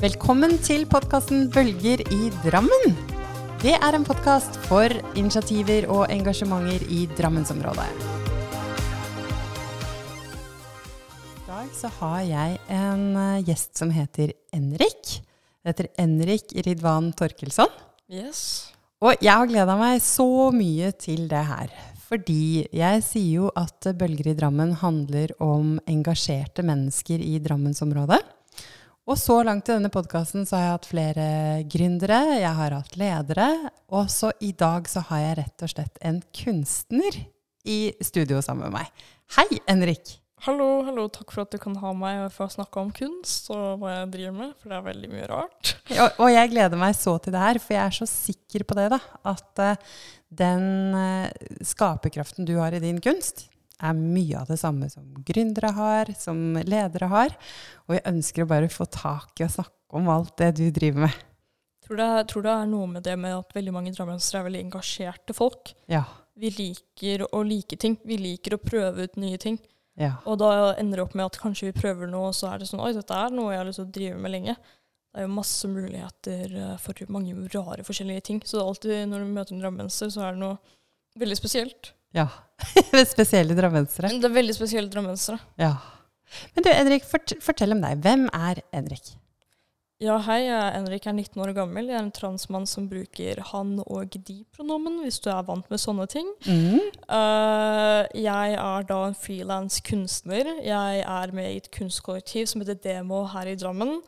Velkommen til podkasten Bølger i Drammen. Det er en podkast for initiativer og engasjementer i Drammensområdet. I dag så har jeg en eh, gjest som heter Enrik. Det heter Enrik Ridvan Torkelsson. Yes. Og jeg har gleda meg så mye til det her. Fordi jeg sier jo at Bølger i Drammen handler om engasjerte mennesker i Drammensområdet. Og så langt i denne podkasten så har jeg hatt flere gründere, jeg har hatt ledere, og så i dag så har jeg rett og slett en kunstner i studio sammen med meg. Hei, Henrik! Hallo, hallo. Takk for at du kan ha meg og få snakke om kunst og hva jeg driver med, for det er veldig mye rart. Og, og jeg gleder meg så til det her, for jeg er så sikker på det, da. At eh, den eh, skaperkraften du har i din kunst, er mye av det samme som gründere har, som ledere har. Og jeg ønsker å bare få tak i og snakke om alt det du driver med. Tror det, er- tror det er noe med det med at veldig mange drammensere er veldig engasjerte folk. Ja. Vi liker å like ting. Vi liker å prøve ut nye ting. ja. Og da ender det opp med at kanskje vi prøver noe, og så er det sånn Oi, dette er noe jeg har lyst til å drive med lenge. Det er jo masse muligheter eh, for mange rare forskjellige ting. Så det er alltid når du møter en drammenser, så er det noe veldig spesielt. ja. Spesielle drammensere. Det er veldig spesielle drammensere. Ja. Men du, Henrik, fort, fortell om deg. Hvem er Henrik? Ja, hei. Jeg er Henrik jeg er 19 år gammel. Jeg er en transmann som bruker han og de-pronomen, hvis du er vant med sånne ting. Eh, jeg er da en frilans kunstner. Jeg er med i et kunstkollektiv som heter Demo her i Drammen.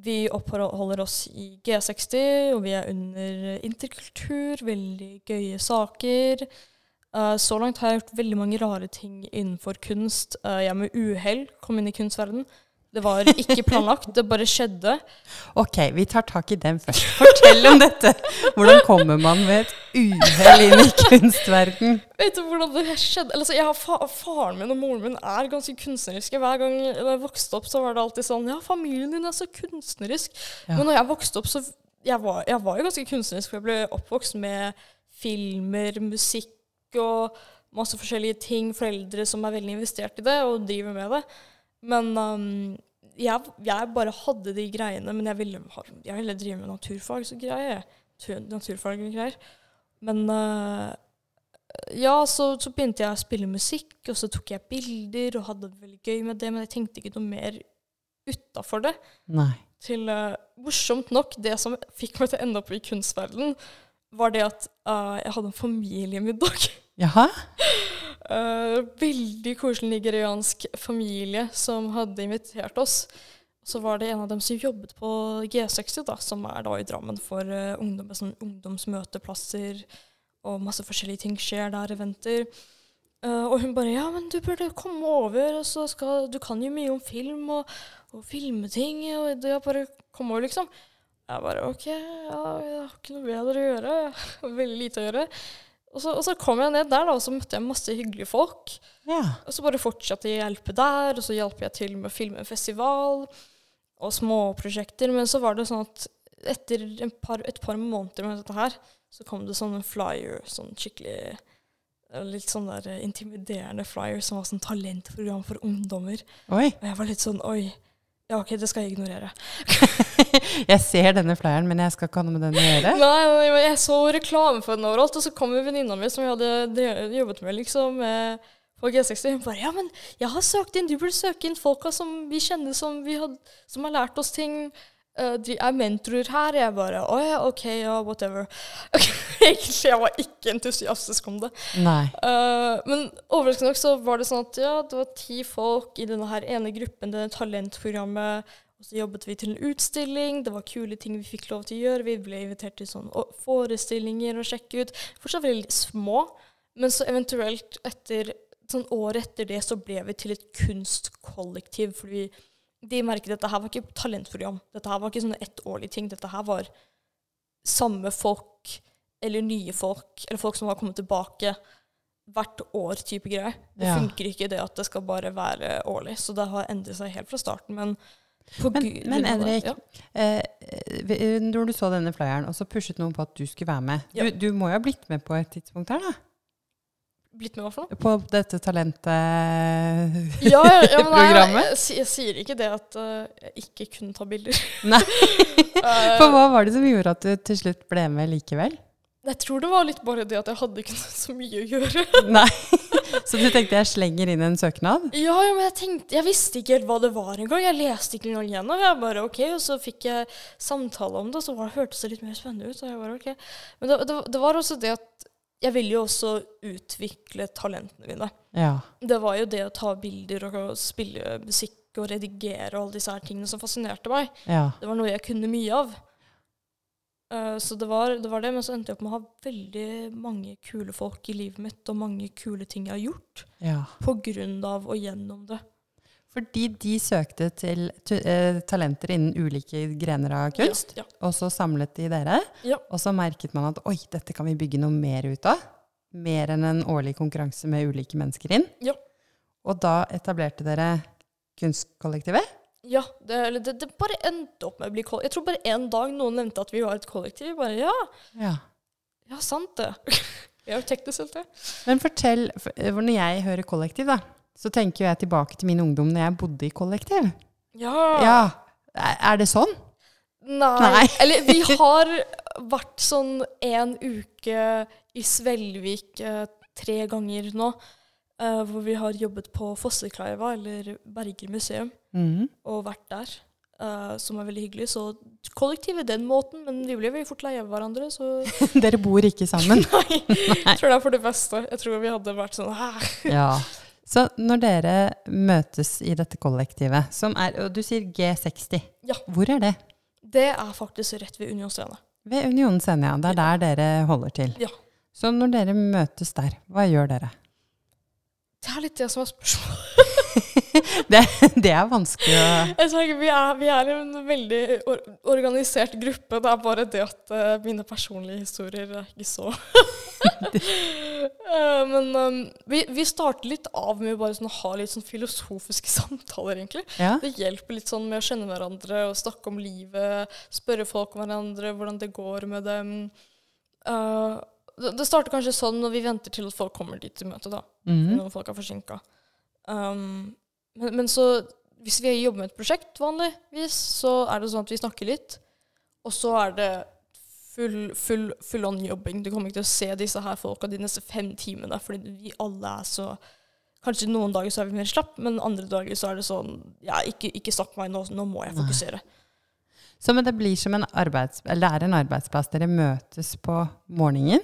Vi oppholder oss i G60, og vi er under interkultur. Veldig gøye saker. Eh, så langt har jeg gjort veldig mange rare ting innenfor kunst. Eh, jeg med uhell kom inn i kunstverden. Det var ikke planlagt, det bare skjedde. Ok, vi tar tak i dem først. Fortell om dette. Hvordan kommer man ved et uhell inn i kunstverden? Vet du hvordan det skjedde? Altså, jeg har fa faren min og moren min er ganske kunstneriske. Hver gang jeg vokste opp, så var det alltid sånn Ja, familien din er så kunstnerisk. Ja. Men når jeg vokste opp, så jeg var jeg var jo ganske kunstnerisk, for jeg ble oppvokst med filmer, musikk og masse forskjellige ting. Foreldre som er veldig investert i det og driver med det. Men um, jeg, jeg bare hadde de greiene, men jeg ville, ha- jeg ville drive med naturfag, så greier jeg. Tu- Naturfag og greier. Men eh, ja, så, så begynte jeg å spille musikk, og så tok jeg bilder og hadde det veldig gøy med det, men jeg tenkte ikke noe mer utafor det. Nei. Til eh, morsomt nok, det som fikk meg til å ende opp i kunstverdenen, var det at eh, jeg hadde en familiemiddag. Jaha? Eh, veldig koselig nigeriansk familie som hadde invitert oss. Så var det en av dem som jobbet på G60, da, som er da i Drammen for eh, ungdom, med sånn ungdomsmøteplasser, og masse forskjellige ting skjer der, eventer. Eh, og hun bare 'Ja, men du burde komme over, og så skal, du kan jo mye om film og, og filmeting.' Og det er bare 'Kom over', liksom. Jeg bare 'OK, ja, jeg har ikke noe bedre å gjøre. Jeg har veldig lite å gjøre.' Og så, og så kom jeg ned der, da, og så møtte jeg masse hyggelige folk. Ja. Og så bare fortsatte jeg å hjelpe der, og så hjalp jeg til med å filme en festival og småprosjekter. Men så var det sånn at etter en par, et par måneder med dette her, så kom det sånn en flyer, sånn skikkelig eh, Litt sånn der eh, intimiderende flyer som var sånn talentprogram for ungdommer. Oi. Og jeg var litt sånn oi. Ja, OK, det skal jeg ignorere. Jeg ser denne flyeren, men jeg skal ikke ha noe med den å gjøre. Nei, nei, men jeg så reklame for den overalt, og så kom jo venninna mi som jeg hadde dre- jobbet med liksom, eh, på G60. Hun bare 'Ja, men jeg har søkt inn, du burde søke inn folka som vi kjenner, som, vi had, som har lært oss ting. eh, de er mentorer her. Jeg bare 'Å ja, OK, ja, whatever'. Egentlig jeg var ikke entusiastisk om det. Nei. Eh, men overraskende nok så var det sånn at ja, det var ti folk i denne her ene gruppen, denne talentprogrammet. Og så jobbet vi til en utstilling, det var kule ting vi fikk lov til å gjøre. Vi ble invitert til sånne å- forestillinger og sjekke ut. Fortsatt veldig små, men så eventuelt etter sånn året etter det så ble vi til et kunstkollektiv, fordi de merket at dette her var ikke talentprogram. Dette her var ikke sånne ettårlige ting. Dette her var samme folk, eller nye folk, eller folk som har kommet tilbake hvert år type greier. Det Ja. funker ikke det at det skal bare være årlig, så det har endret seg helt fra starten. Men, på Men- Gud- men grunn av det- Henrik, Eh, eh, når du så denne flyeren, og så pushet noen på at du skulle være med. Du, Ja. du må jo ha blitt med på et tidspunkt her, da? Blitt med, hva for noe? På dette talentet Ja, ja, ja, men nei, Programmet? jeg, si- jeg sier ikke det at eh, jeg ikke kunne ta bilder. Nei. Eh, For hva var det som gjorde at du til slutt ble med likevel? jeg tror det var litt bare det at jeg hadde ikke så mye å gjøre. Nei. Så du tenkte jeg slenger inn en søknad? Ja, ja, men jeg tenkte, jeg visste ikke helt hva det var engang. Jeg leste ikke noe gjennom. Jeg bare, ok, Og så fikk jeg samtale om det, og så var, hørtes det litt mer spennende ut. og jeg bare, ok. Men det, det, det var også det at jeg ville jo også utvikle talentene mine. Ja. Det var jo det å ta bilder og spille musikk og redigere og alle disse her tingene som fascinerte meg. ja. Det var noe jeg kunne mye av. Eh, så det var, det var det, men så endte jeg opp med å ha veldig mange kule folk i livet mitt, og mange kule ting jeg har gjort ja. på grunn av og gjennom det. Fordi de søkte til tu- eh, talenter innen ulike grener av kunst, Ja, og så samlet de dere. Ja. Og så merket man at oi, dette kan vi bygge noe mer ut av. Mer enn en årlig konkurranse med ulike mennesker inn. Ja. Og da etablerte dere Kunstkollektivet. ja. ja det, eller det, det bare endte opp med å bli kollektiv. Jeg tror bare en dag noen nevnte at vi var et kollektiv. Bare ja, Ja. ja, sant det. Vi er jo teknisk helt, det. Men fortell, for eh, når jeg hører kollektiv, da, så tenker jo jeg tilbake til min ungdom når jeg bodde i kollektiv. Ja. Ja, Er er det sånn? Nei. Nei. Eller vi har vært sånn en uke i Svelvik eh, tre ganger nå. eh, hvor vi har jobbet på Fossekleiva, eller Berger museum, Mhm. og vært der. eh, som er veldig hyggelig. Så kollektivet den måten, men vi ble veldig fort lei av hverandre, så Dere bor ikke sammen. Nei. Jeg tror det er for det beste. Jeg tror vi hadde vært sånn Hæ? Ja. Så når dere møtes i dette kollektivet, som er Og du sier G60. Ja. Hvor er det? Det er faktisk rett ved Union Scene. Ved Unionen Senja. Det er der dere holder til. Ja. Så når dere møtes der, hva gjør dere? Det er litt det som er spørsmålet. Det, det er vanskelig å Jeg sa ikke, vi, er, vi er en veldig or organisert gruppe. Det er bare det at eh, mine personlige historier er ikke så Eh, Men eh, vi, vi starter litt av med å bare sånn, ha litt sånn filosofiske samtaler, egentlig. Ja. Det hjelper litt sånn med å skjønne hverandre og snakke om livet, spørre folk om hverandre, hvordan det går med dem. Eh, det, det starter kanskje sånn når vi venter til at folk kommer dit til møtet, da. Mhm. Når folk er forsinka. Um, men, men så, hvis vi jobber med et prosjekt vanligvis, så er det sånn at vi snakker litt, og så er det full, full, full on jobbing. Du kommer ikke til å se disse her folka de neste fem timene, fordi vi alle er så Kanskje noen dager så er vi mer slapp, men andre dager så er det sånn Ja, ikke, ikke snakk med meg nå, nå må jeg Nei. fokusere. Så men det blir som en arbeids... Eller det er en arbeidsplass. Dere møtes på morgenen.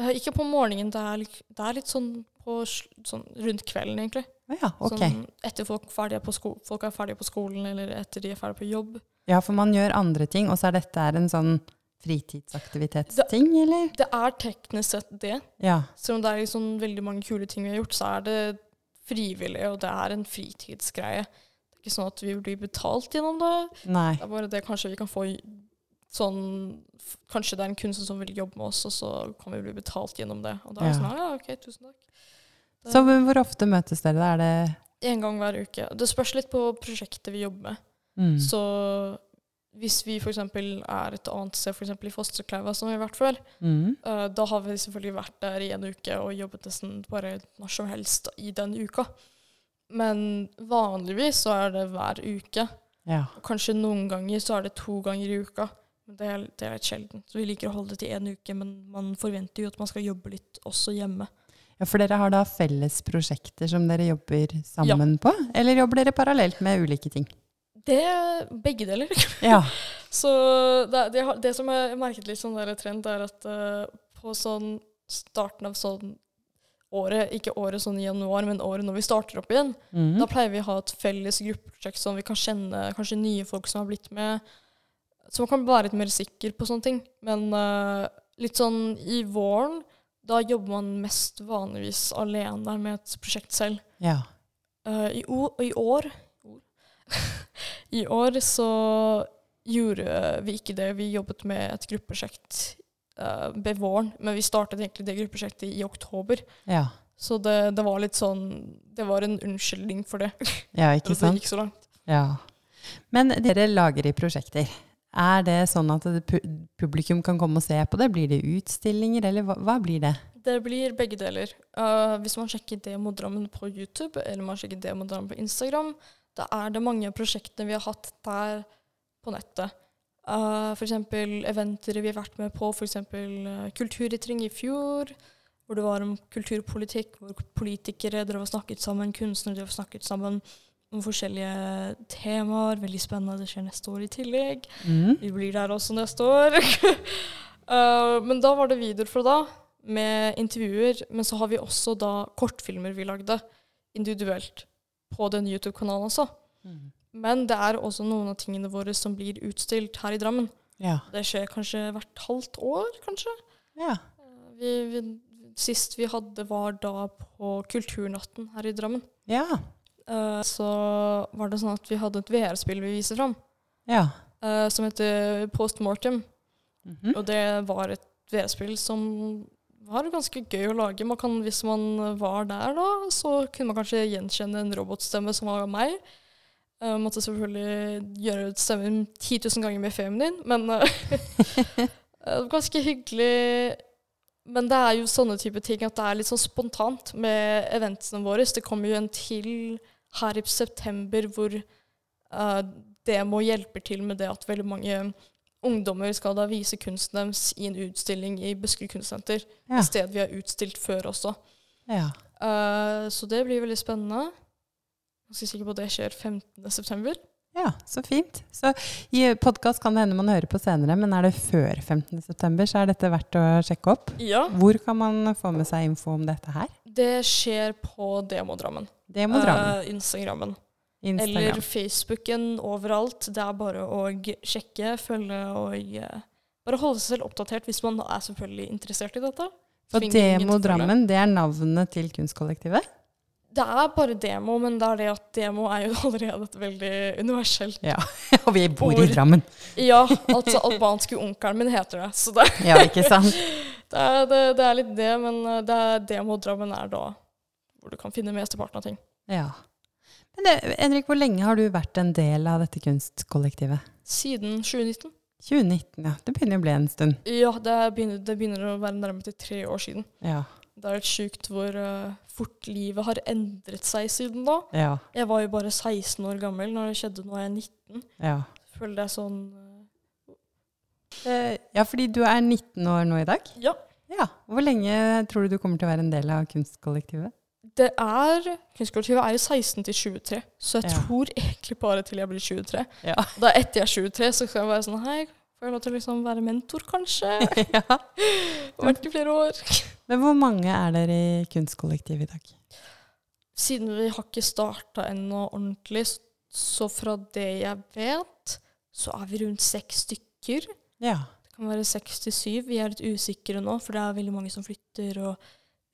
Eh, ikke på morgenen, det er, lik- det er litt sånn, på, sl- sånn rundt kvelden, egentlig. Å Ja, ok. Sånn etter folk, ferdige på sko folk er ferdige på skolen, eller etter de er ferdige på jobb. Ja, for man gjør andre ting, og så er dette er en sånn fritidsaktivitetsting, eller? Det er teknisk sett det. Ja. Selv om det er liksom veldig mange kule ting vi har gjort, så er det frivillig, og det er en fritidsgreie. Det er ikke sånn at vi blir betalt gjennom det. Nei. Det er bare det kanskje vi kan få i- sånn f- Kanskje det er en kunstner som vil jobbe med oss, og så kan vi bli betalt gjennom det. Og da er det Ja. sånn Ja, OK, tusen takk. Det- Så men hvor ofte møtes dere? da? Er det En gang hver uke. Det spørs litt på prosjektet vi jobber med. mm. Så hvis vi f.eks. er et annet sted, f.eks. i Fosterkleiva, som vi har vært før, Mm. eh, da har vi selvfølgelig vært der i en uke og jobbet nesten bare når som helst i den uka. Men vanligvis så er det hver uke. Ja. Og kanskje noen ganger så er det to ganger i uka. Men det er, det er litt sjelden. Så vi liker å holde det til én uke, men man forventer jo at man skal jobbe litt også hjemme. ja, for dere har da felles prosjekter som dere jobber sammen på? Eller jobber dere parallelt med ulike ting? Det er begge deler. Ja. Så det, det, har- det som jeg har merket litt sånn der trend, det er at eh, på sånn starten av sånn året, ikke året sånn i januar, men året når vi starter opp igjen, Mm. da pleier vi å ha et felles gruppeprosjekt sånn vi kan kjenne kanskje nye folk som har blitt med, som kan være litt mer sikker på sånne ting. Men eh, litt sånn i våren, da jobber man mest vanligvis alene med et prosjekt selv. Ja. Eh, i, o, I år I år så gjorde vi ikke det. Vi jobbet med et gruppeprosjekt eh, ved våren, men vi startet egentlig det gruppeprosjektet i oktober. Ja. Så det, det var litt sånn Det var en unnskyldning for det. ja, ikke At det sant? gikk så langt. Ja. Men dere lager i prosjekter. Er det sånn at det pu- publikum kan komme og se på det? Blir det utstillinger, eller hva, hva blir det? Det blir begge deler. Eh, hvis man sjekker Demodrammen på YouTube, eller man sjekker Demodrammen på Instagram, da er det mange prosjektene vi har hatt der på nettet. Uh, F.eks. eventer vi har vært med på, f.eks. Uh, Kulturytring i fjor, hvor det var om kulturpolitikk, hvor politikere drev og snakket sammen, kunstnere drev og snakket sammen om forskjellige temaer. Veldig spennende, det skjer neste år i tillegg. Mm. Vi blir der også neste år. Eh, men da var det videoer fra da, med intervjuer. Men så har vi også da kortfilmer vi lagde individuelt på den YouTube-kanalen også. Mm. Men det er også noen av tingene våre som blir utstilt her i Drammen. Ja. Det skjer kanskje hvert halvt år, kanskje. ja. Eh, Vi, vi, sist vi hadde, var da på Kulturnatten her i Drammen. Ja. Eh, så var det sånn at vi hadde et VR-spill vi viser fram, Ja. eh, som heter Postmortem. Mhm. Og det var et VR-spill som var ganske gøy å lage. Man kan, hvis man var der da, så kunne man kanskje gjenkjenne en robotstemme som var meg. Jeg måtte selvfølgelig gjøre stemmen 10 000 ganger mer feminin, men eh, eh, ganske hyggelig. Men det er jo sånne type ting at det er litt sånn spontant med eventene våre. Det kommer jo en til her i september hvor eh, demo hjelper til med det at veldig mange ungdommer skal da vise kunsten deres i en utstilling i Buskerud Kunstsenter. Ja. Et sted vi har utstilt før også. ja. Eh, så det blir veldig spennende. Ganske sikker på at det skjer 15.9. Ja, så fint. Så I podkast kan det hende man hører på senere, men er det før 15.9, så er dette verdt å sjekke opp. Ja, Hvor kan man få med seg info om dette her? det skjer på Demodrammen. Det må dra med. Eh, Instagrammen. Eh, Eller Instagram. Facebooken overalt. Det er bare å sjekke, følge og eh, bare holde seg selv oppdatert hvis man er selvfølgelig interessert i dette. For tvinger ingen til å Demo følge. Drammen, det er navnet til kunstkollektivet? Det er bare demo, men det er det at demo er jo allerede et veldig universelt Ja. Og vi bor i Bor. Drammen! Ja, altså albanske onkelen min heter det. Så det, Ja, ikke sant? det, er, det, det er litt det, men eh, det er demo-drammen er da hvor du kan finne mesteparten av ting. Ja. Men det, Henrik, hvor lenge har du vært en del av dette kunstkollektivet? Siden 2019. 2019, ja. Det begynner jo å bli en stund. Ja, det begynner, det begynner å være nærmere til tre år siden. Ja. Det er litt sjukt hvor eh, fort livet har endret seg siden da. Ja. Jeg var jo bare 16 år gammel når det skjedde, nå er jeg 19. Ja, Føler jeg sånn Eh, ja fordi du er 19 år nå i dag? eh, Ja. Ja. Hvor lenge tror du du kommer til å være en del av kunstkollektivet? Det er Kunstkollektivet er jo 16 til 23, så jeg Ja. tror egentlig bare til jeg blir 23. Ja. Da etter jeg er 23, så skal jeg være sånn Hei, får jeg lov til å liksom være mentor, kanskje? ja. Vært i flere år. Men hvor mange er dere i kunstkollektivet i dag? Siden vi har ikke starta ennå ordentlig, s- så fra det jeg vet, så er vi rundt seks stykker. Ja. Det kan være seks til syv. Vi er litt usikre nå, for det er veldig mange som flytter, og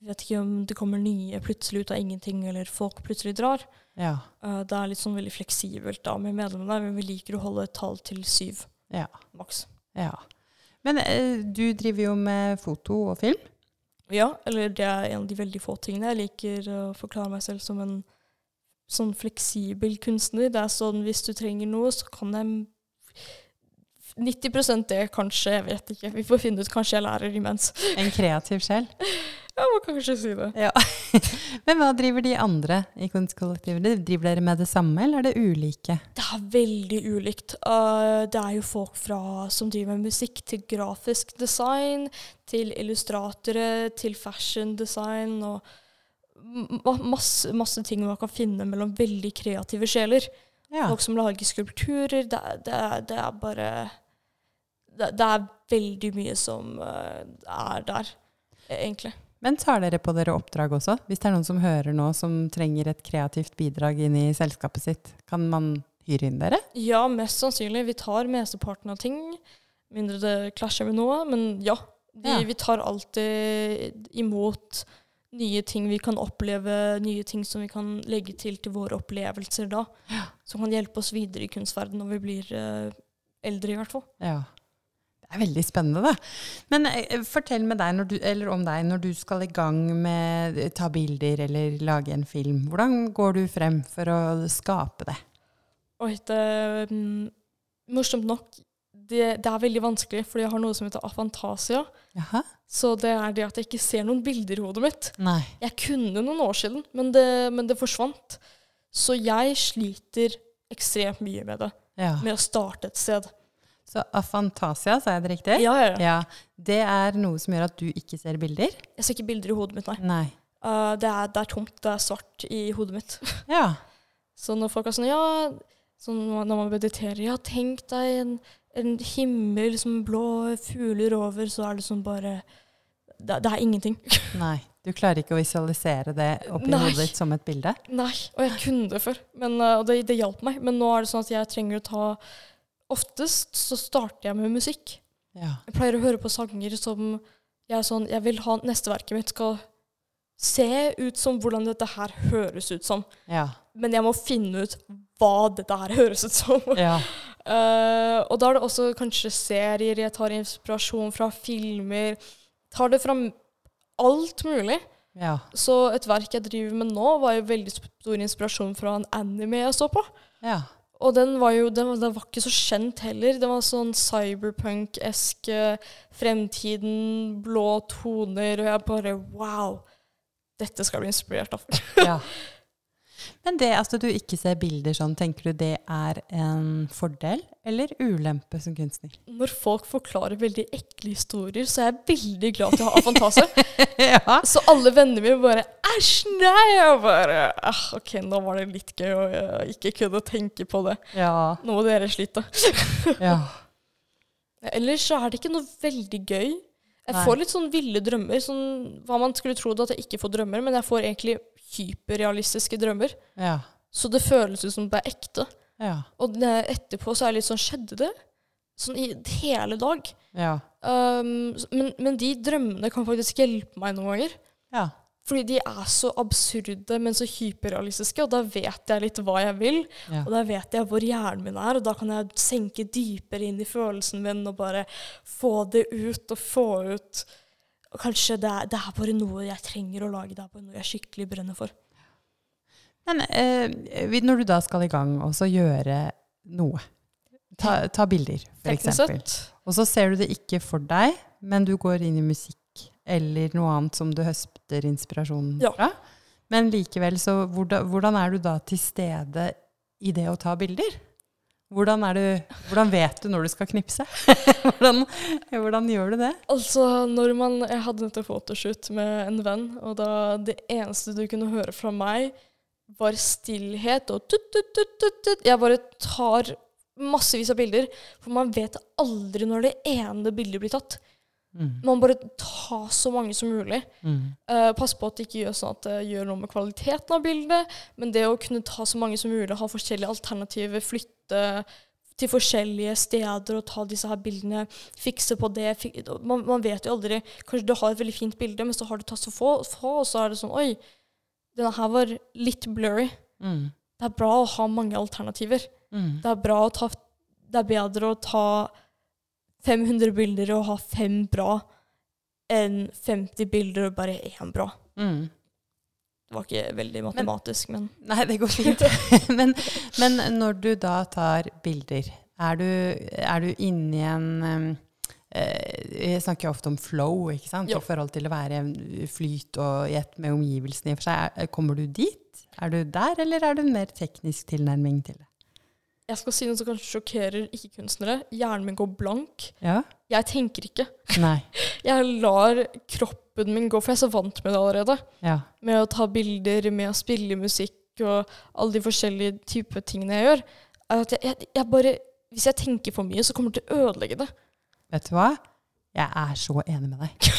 vi vet ikke om det kommer nye plutselig ut av ingenting, eller folk plutselig drar. Ja. Eh, Det er litt sånn veldig fleksibelt da med medlemmene, men vi liker å holde et tall til syv Ja. maks. ja. Men eh, du driver jo med foto og film. Ja, eller det er en av de veldig få tingene. Jeg liker å forklare meg selv som en sånn fleksibel kunstner. Det er sånn hvis du trenger noe, så kan jeg 90 det, kanskje. Jeg vet ikke. Vi får finne ut. Kanskje jeg lærer imens. En kreativ sjel. Ja, man kan kanskje si det. Men hva driver de andre i kunstkollektivet? De- Driver dere med det samme, eller er det ulike? Det er veldig ulikt. Eh, det er jo folk fra, som driver med musikk, til grafisk design, til illustratere, til fashion design og ma masse, masse ting man kan finne mellom veldig kreative sjeler. Ja. Folk som lager skulpturer. Det, er- det, er- det er bare det, det er veldig mye som eh, er der, eh, egentlig. Men tar dere på dere oppdrag også? Hvis det er noen som hører nå som trenger et kreativt bidrag inn i selskapet sitt, kan man hyre inn dere? Ja, mest sannsynlig. Vi tar mesteparten av ting. Mindre det klasjer med noe. Men ja, vi, Ja. vi tar alltid imot nye ting vi kan oppleve, nye ting som vi kan legge til til våre opplevelser da. Som kan hjelpe oss videre i kunstverdenen når vi blir eh, eldre, i hvert fall. Ja. Det er veldig spennende, da. Men eh, fortell med deg når du, eller om deg når du skal i gang med eh, ta bilder eller lage en film. Hvordan går du frem for å skape det? Og det, mm, eh, morsomt nok, det, det er veldig vanskelig, fordi jeg har noe som heter afantasia. Jaha? Så det er det at jeg ikke ser noen bilder i hodet mitt. Nei. Jeg kunne noen år siden, men det, men det forsvant. Så jeg sliter ekstremt mye med det. Ja. Med å starte et sted. Så afantasia, sa jeg det riktig? Ja, ja, ja. Ja. Det er noe som gjør at du ikke ser bilder? Jeg ser ikke bilder i hodet mitt, nei. Nei. Eh, det, er, det er tomt, det er svart i hodet mitt. Ja. Så når folk er sånn, ja, sånn når man mediterer, ja, tenk deg en, en himmel som blå fugler over, så er det sånn bare Det, det er ingenting. Nei. Du klarer ikke å visualisere det oppi Nei. hodet ditt som et bilde? Nei, og jeg kunne det før, men, eh, og det, det hjalp meg. Men nå er det sånn at jeg trenger å ta Oftest så starter jeg med musikk. Ja. Jeg pleier å høre på sanger som jeg er sånn Jeg vil ha neste verket mitt skal se ut som hvordan dette her høres ut som. Ja. Men jeg må finne ut hva dette her høres ut som. ja. Eh, og da er det også kanskje serier jeg tar inspirasjon fra, filmer Tar det fra m- alt mulig. ja. Så et verk jeg driver med nå, var jo veldig sp- stor inspirasjon fra en anime jeg så på. ja. Og den var jo den var, den var ikke så kjent heller. Den var sånn cyberpunk-esk, eh, fremtiden, blå toner, og jeg bare wow. Dette skal jeg bli inspirert av. Ja. Men det at du ikke ser bilder sånn, tenker du det er en fordel eller ulempe som kunstner? Når folk forklarer veldig ekle historier, så er jeg veldig glad til å ha fantase. ja. Så alle vennene mine bare Æsj, nei! Jeg bare ah, OK, nå var det litt gøy å eh, ikke kunne tenke på det. Ja. Nå må dere slite. ja. Ellers så er det ikke noe veldig gøy. Jeg Nei. får litt sånn ville drømmer. Sånn, hva man skulle trodd at jeg ikke får drømmer, men jeg får egentlig hyperrealistiske drømmer. Ja. Så det føles ut som det er ekte. Ja. Og det- etterpå så er jeg litt sånn Skjedde det? Sånn i hele dag. Ja. Um, s- men, men de drømmene kan faktisk hjelpe meg noen ganger. Ja. Fordi de er så absurde, men så hyperrealistiske, og da vet jeg litt hva jeg vil. Ja. Og da vet jeg hvor hjernen min er, og da kan jeg senke dypere inn i følelsen min og bare få det ut og få ut og Kanskje det er, det er bare noe jeg trenger å lage, det er bare noe jeg skikkelig brenner for. Men eh, vi- når du da skal i gang og så gjøre noe, ta, ta bilder Teknisk f.eks., og så ser du det ikke for deg, men du går inn i musikk eller noe annet som du høster inspirasjonen Ja. fra, men likevel, så hvordan, hvordan er du da til stede i det å ta bilder? Hvordan, er du, hvordan vet du når du skal knipse? hvordan, hvordan gjør du det? Altså, når man Jeg hadde nettopp photoshoot med en venn, og da det eneste du kunne høre fra meg, var stillhet og tut, tut, tut, tut, tut. Jeg bare tar massevis av bilder, for man vet aldri når det ene bildet blir tatt. Mm. Man bare tar så mange som mulig. Mm. Eh, pass på at det ikke gjør sånn at det gjør noe med kvaliteten av bildet, men det å kunne ta så mange som mulig, ha forskjellige alternativer, flytte til forskjellige steder og ta disse her bildene, fikse på det fik man, man vet jo aldri. Kanskje du har et veldig fint bilde, men så har du tatt så få, få og så er det sånn Oi, denne her var litt blurry. Mm. Det er bra å ha mange alternativer. Mm. Det er bra å ta Det er bedre å ta 500 bilder og ha fem bra enn 50 bilder og bare én bra. Mm. Det var ikke veldig matematisk, men, Nei, det går fint. men, men når du da tar bilder, er du, er du inni en em, eh, Jeg snakker jo ofte om flow, ikke sant? Jo. i forhold til å være i en flyt og i ett med omgivelsene i og for seg. Er- Kommer du dit? Er du der, eller er du en mer teknisk tilnærming til det? jeg skal si noe som kanskje sjokkerer ikke-kunstnere. Hjernen min går blank. Ja. Jeg tenker ikke. Nei. Jeg lar kroppen min gå, for jeg er så vant med det allerede. Ja. Med å ta bilder, med å spille musikk og alle de forskjellige typer tingene jeg gjør. Er at jeg, jeg, jeg bare, hvis jeg tenker for mye, så kommer det til å ødelegge det. Vet du hva? Jeg er så enig med deg.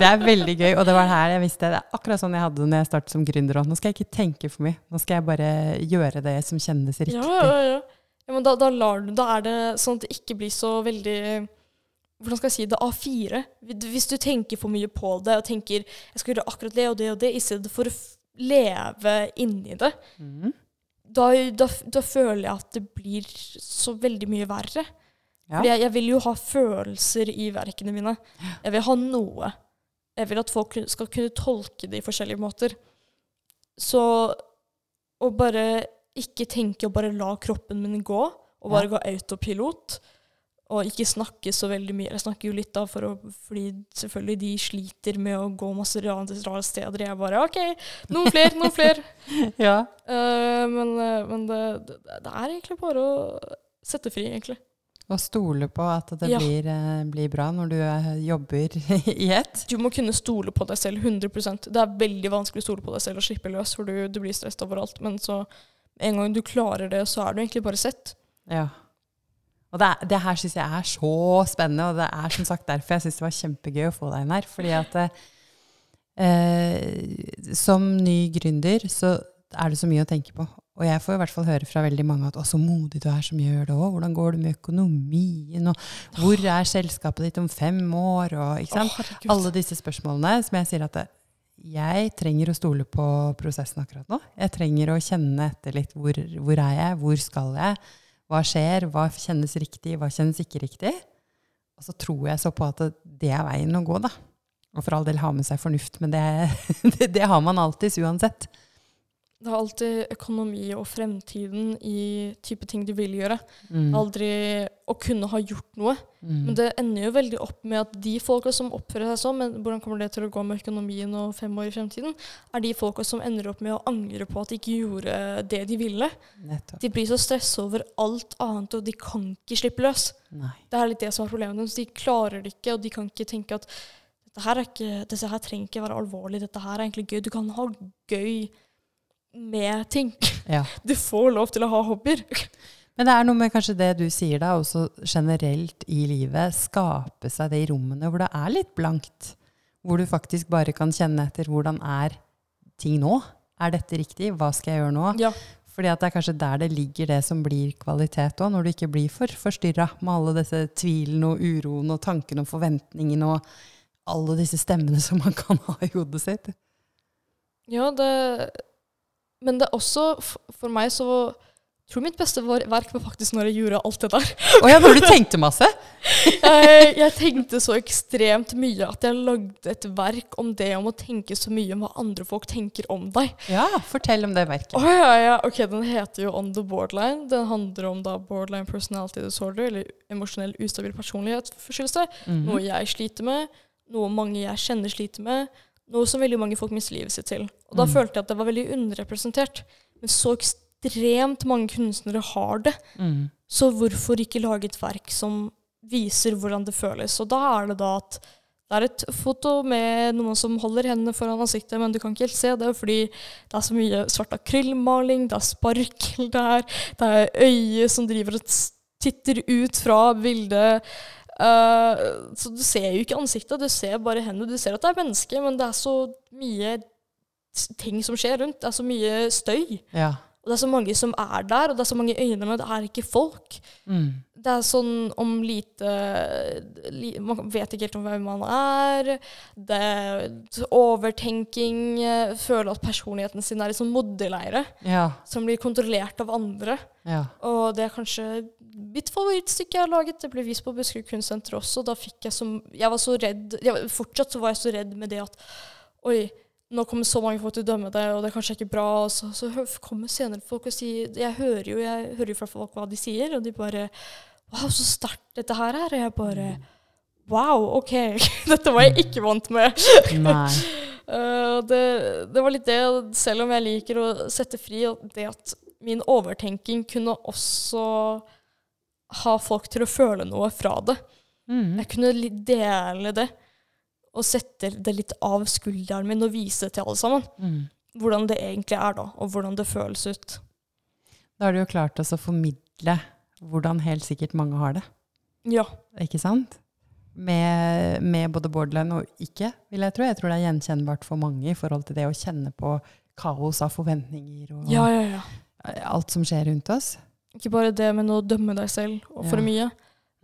Det er veldig gøy, og det var her jeg visste det. er akkurat sånn jeg hadde det når jeg startet som gründer òg. Nå skal jeg ikke tenke for mye. Nå skal jeg bare gjøre det som kjennes riktig. Ja, ja, ja. ja men da, da, lar du, da er det sånn at det ikke blir så veldig Hvordan skal jeg si det? A4. Hvis du tenker for mye på det og tenker jeg skal gjøre akkurat det og det og det, i stedet for å f- leve inni det, Mm. da, da, da føler jeg at det blir så veldig mye verre. Ja. Fordi jeg, jeg vil jo ha følelser i verkene mine. Jeg vil ha noe. Jeg vil at folk kun- skal kunne tolke det i forskjellige måter. Så å bare ikke tenke og bare la kroppen min gå, og bare gå autopilot, og ikke snakke så veldig mye. Jeg snakker jo litt, da, for å, fordi selvfølgelig de sliter med å gå masse rare rare steder. Jeg bare OK, noen flere, noen flere. Ja. Eh, men eh, men det, det, det er egentlig bare å sette fri, egentlig. Og stole på at det Ja. blir, eh, blir bra når du eh, jobber i ett. Du må kunne stole på deg selv 100 Det er veldig vanskelig å stole på deg selv og slippe løs, for du, du blir stresset overalt. Men så, med en gang du klarer det, så er du egentlig bare sett. Ja. Og det, er- det her syns jeg er så spennende, og det er som sagt derfor jeg syns det var kjempegøy å få deg inn her. Fordi at eh, som ny gründer så er det så mye å tenke på. Og jeg får i hvert fall høre fra veldig mange at 'Å, så modig du er som gjør det òg'. Hvordan går det med økonomien, og hvor er selskapet ditt om fem år, og ikke sant? Å, herregud. Alle disse spørsmålene som jeg sier at det, jeg trenger å stole på prosessen akkurat nå. Jeg trenger å kjenne etter litt hvor, hvor er jeg, hvor skal jeg, hva skjer, hva kjennes riktig, hva kjennes ikke riktig. Og så tror jeg så på at det, det er veien å gå, da. Og for all del ha med seg fornuft, men det, det, det har man alltids uansett. Det er alltid økonomi og fremtiden i type ting du vil gjøre. Aldri å kunne ha gjort noe. Mm. Men det ender jo veldig opp med at de folka som oppfører seg sånn, men hvordan kommer det til å gå med økonomien og fem år i fremtiden, er de folka som ender opp med å angre på at de ikke gjorde det de ville. Nettopp. De blir så stressa over alt annet, og de kan ikke slippe løs. Nei. Det er litt det som er problemet deres. De klarer det ikke, og de kan ikke tenke at dette her, er ikke, dette her trenger ikke være alvorlig, dette her er egentlig gøy. Du kan ha gøy med ting. Ja. Du får lov til å ha hobbyer. Men det er noe med kanskje det du sier da, også generelt i livet, skape seg det i rommene hvor det er litt blankt. Hvor du faktisk bare kan kjenne etter hvordan er ting nå? Er dette riktig? Hva skal jeg gjøre nå? Ja. Fordi at det er kanskje der det ligger det som blir kvalitet òg, når du ikke blir for forstyrra med alle disse tvilene og uroen og tankene og forventningene og alle disse stemmene som man kan ha i hodet sitt. Ja, det Men det er også f- For meg så jeg tror mitt beste var- verk var faktisk når jeg gjorde alt det der. Å ja, når du tenkte masse! Jeg, Eh, jeg tenkte så ekstremt mye at jeg lagde et verk om det om å tenke så mye om hva andre folk tenker om deg. Ja, fortell om det verket. Å ja, ja. Ok, den heter jo On the Borderline. Den handler om da borderline personality disorder, eller emosjonell ustabil personlighetsforstyrrelse. Mhm. Noe jeg sliter med, noe mange jeg kjenner sliter med, noe som veldig mange folk mister livet sitt til. Og da Mm. følte jeg at det var veldig underrepresentert. Men så ekstremt mange kunstnere har det, Mm. så hvorfor ikke lage et verk som viser hvordan det føles? Og da er det da at det er et foto med noen som holder hendene foran ansiktet, men du kan ikke helt se det, fordi det er så mye svart akryllmaling, det er sparkel der, det er øyet som driver og titter ut fra bildet. Eh, så du ser jo ikke ansiktet, du ser bare hendene. Du ser at det er menneske, men det er så mye s- ting som skjer rundt. Det er så mye støy. Ja. Og det er så mange som er der, og det er så mange øyne, men det er ikke folk. Mm. Det er sånn om lite li, Man vet ikke helt om hvem man er. Det er overtenking. eh, Føle at personligheten sin er i sånn modeleire Ja. som blir kontrollert av andre. Ja. Og det er kanskje mitt favorittstykke jeg har laget. Det ble vist på Buskerud Kunstsenter også. Da fikk jeg så Jeg var så redd jeg, var- Fortsatt så var jeg så redd med det at Oi, nå kommer så mange folk til å dømme deg, og det er kanskje ikke bra. Og så, så hø- kommer senere folk og sier Jeg hører jo jeg hører jo fra folk hva de sier, og de bare Wow, så sterkt dette her er. Og jeg bare Wow, OK. Dette var jeg ikke vant med. Nei. Eh, og det, det var litt det, selv om jeg liker å sette fri, og det at min overtenking kunne også ha folk til å føle noe fra det. Mm. Jeg kunne li- dele det, og sette det litt av skulderen min og vise det til alle sammen. Mm. Hvordan det egentlig er da, og hvordan det føles ut. Da har du jo klart oss å formidle hvordan helt sikkert mange har det, Ja. ikke sant? Med, med både borderline og ikke, vil jeg tro. Jeg tror det er gjenkjennbart for mange i forhold til det å kjenne på kaos av forventninger og ja, ja, ja. alt som skjer rundt oss. Ikke bare det med å dømme deg selv og for Ja. mye.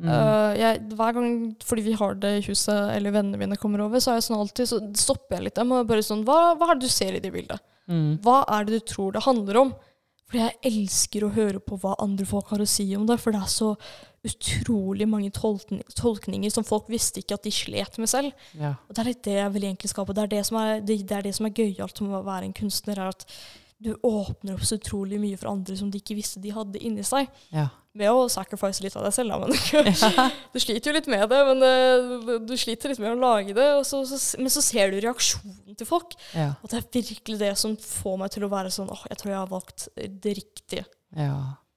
Mm. Eh, jeg, hver gang fordi vi har det i huset, eller vennene mine kommer over, så er jeg sånn alltid, så stopper jeg litt dem og bare sånn hva, hva er det du ser i det bildet? Mm. Hva er det du tror det handler om? Fordi jeg elsker å høre på hva andre folk har å si om det, for det er så utrolig mange tolkn- tolkninger som folk visste ikke at de slet med selv. Ja. Og det er litt det jeg vil egentlig skape. Det er det som er, det, det er, det som er gøyalt med å være en kunstner, er at du åpner opp så utrolig mye for andre som de ikke visste de hadde inni seg. ja. Med å sacrifice litt av deg selv, da. Men du sliter jo litt med det. Men eh, du sliter litt med å lage det. Og så, så, men så ser du reaksjonen til folk. Ja. Og det er virkelig det som får meg til å være sånn åh, jeg tror jeg har valgt det riktige. ja.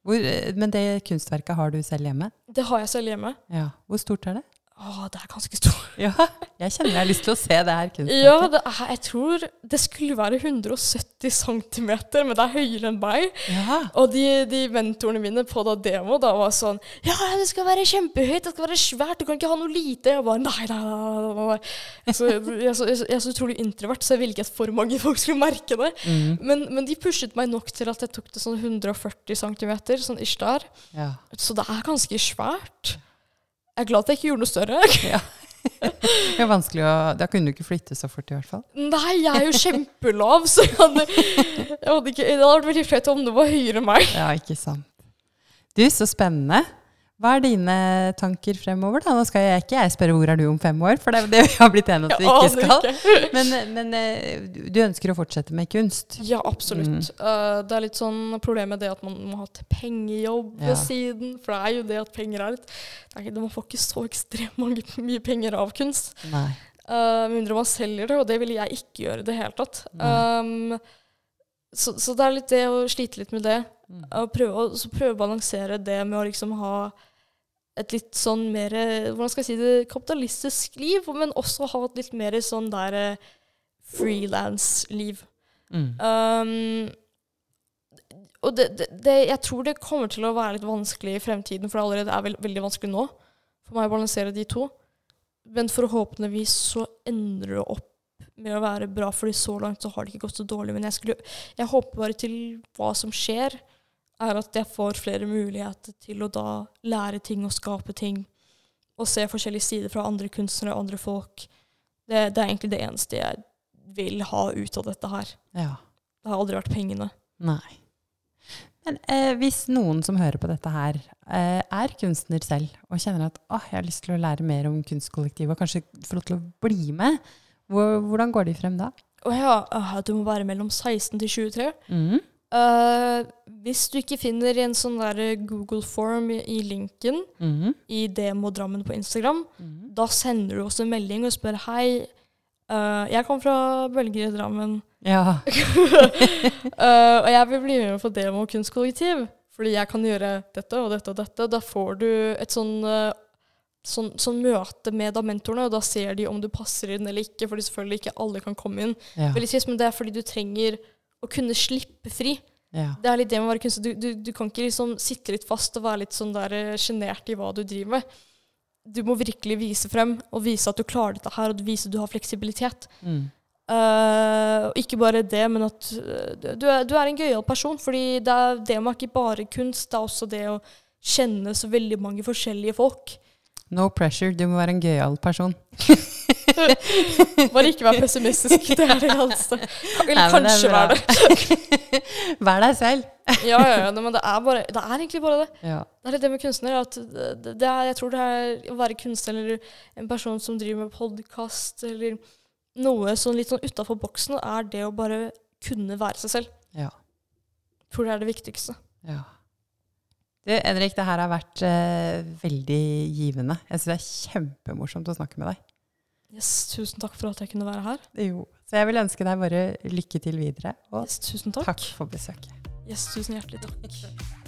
Hvor, eh, men det kunstverket har du selv hjemme? Det har jeg selv hjemme. Ja. Hvor stort er det? Åh, det er ganske stort. Ja, jeg kjenner jeg har lyst til å se det her kunstverket. Ja, det er, jeg tror det skulle være 170 cm, men det er høyere enn meg. Ja. Og de, de mentorene mine på da demo da var sånn Ja, det skal være kjempehøyt, det skal være svært, du kan ikke ha noe lite. Jeg bare nei, nei, nei. nei, nei, nei. Så, jeg, er så, jeg er så utrolig introvert, så jeg ville ikke at for mange folk skulle merke det. Mm. Men, men de pushet meg nok til at jeg tok det sånn 140 cm, sånn ish der. ja. Så det er ganske svært. Jeg er glad at jeg ikke gjorde noe større. Det er vanskelig å Da kunne du ikke flytte så fort, i hvert fall. Nei, jeg er jo kjempelav, så jeg hadde, jeg hadde ikke, det hadde vært veldig flaut om det var høyere enn meg. Ja, ikke sant. Du, så spennende. Hva er dine tanker fremover, da? Nå skal jeg ikke jeg spørre hvor er du om fem år, for det er jo det vi har blitt enige om at vi ikke Jeg skal. aner ikke. Men, men eh, du ønsker å fortsette med kunst? Ja, absolutt. Mm. Eh, det er litt sånn problem med det at man må ha et pengejobb Ja. ved siden. For det er jo det at penger er litt det er ikke- Man får ikke så ekstremt mange, mye penger av kunst. Nei. Eh, Med mindre man selger det, og det ville jeg ikke gjøre i det hele tatt. Um, så, så det er litt det å slite litt med det. Og prøve, å- så prøve å balansere det med å liksom ha et litt sånn mer eh, Hvordan skal jeg si det? Kapitalistisk liv, men også ha et litt mer sånn der frilans-liv. Mm. Um, og det, det, det, jeg tror det kommer til å være litt vanskelig i fremtiden, for det allerede er veld, veldig vanskelig nå for meg å balansere de to. Men forhåpentligvis så ender det opp med å være bra, fordi så langt så har det ikke gått så dårlig. Men jeg, skulle, jeg håper bare til hva som skjer, er at jeg får flere muligheter til å da lære ting og skape ting. Og se forskjellige sider fra andre kunstnere og andre folk. Det, det er egentlig det eneste jeg vil ha ut av dette her. Ja. Det har aldri vært pengene. Nei. Men eh, hvis noen som hører på dette her, eh, er kunstner selv og kjenner at «Åh, jeg har lyst til å lære mer om kunstkollektivet og kanskje få lov til å bli med, hvor, hvordan går de frem da? Å ja, ah, du må være mellom 16 til 23. Mm. Eh, hvis du ikke finner en sånn der Google-form i, i linken Mm. i Demo Drammen på Instagram, Mm. da sender du oss en melding og spør hei, eh, jeg kommer fra Bølger i Drammen, Ja. eh, og jeg vil bli med på Demo kunstkollektiv, fordi jeg kan gjøre dette og dette og dette. Da får du et sånn, eh, sånn, sånn møte med da mentorene, og da ser de om du passer inn eller ikke, fordi selvfølgelig ikke alle kan komme inn. Ja. Veldig trist, men det er fordi du trenger å kunne slippe fri. ja. Det er litt det med å være kunstner. Du, du, du kan ikke liksom sitte litt fast og være litt sånn der sjenert i hva du driver med. Du må virkelig vise frem, og vise at du klarer dette her, og vise at du har fleksibilitet. Mm. Eh, og ikke bare det, men at eh, du er, du er en gøyal person. fordi det er det med ikke bare kunst, det er også det å kjenne så veldig mange forskjellige folk. No pressure, du må være en gøyal person. Bare ikke være pessimistisk. Det er det altså. eneste. Eller Nei, men det kanskje er være det. bra. Vær deg selv. Ja, ja, ja, nei, men det er, bare, det er egentlig bare det. Ja. Det er litt det med kunstnere. At det, det er, jeg tror det er å være kunstner eller en person som driver med podkast eller noe sånn litt sånn utafor boksen, er det å bare kunne være seg selv. Ja. Jeg tror det er det viktigste. Ja. Du, Henrik, det her har vært eh, veldig givende. Jeg syns det er kjempemorsomt å snakke med deg. Yes, tusen takk for at jeg kunne være her. Jo. Så jeg vil ønske deg bare lykke til videre, og Yes, tusen takk. takk for besøket. Yes, tusen hjertelig takk.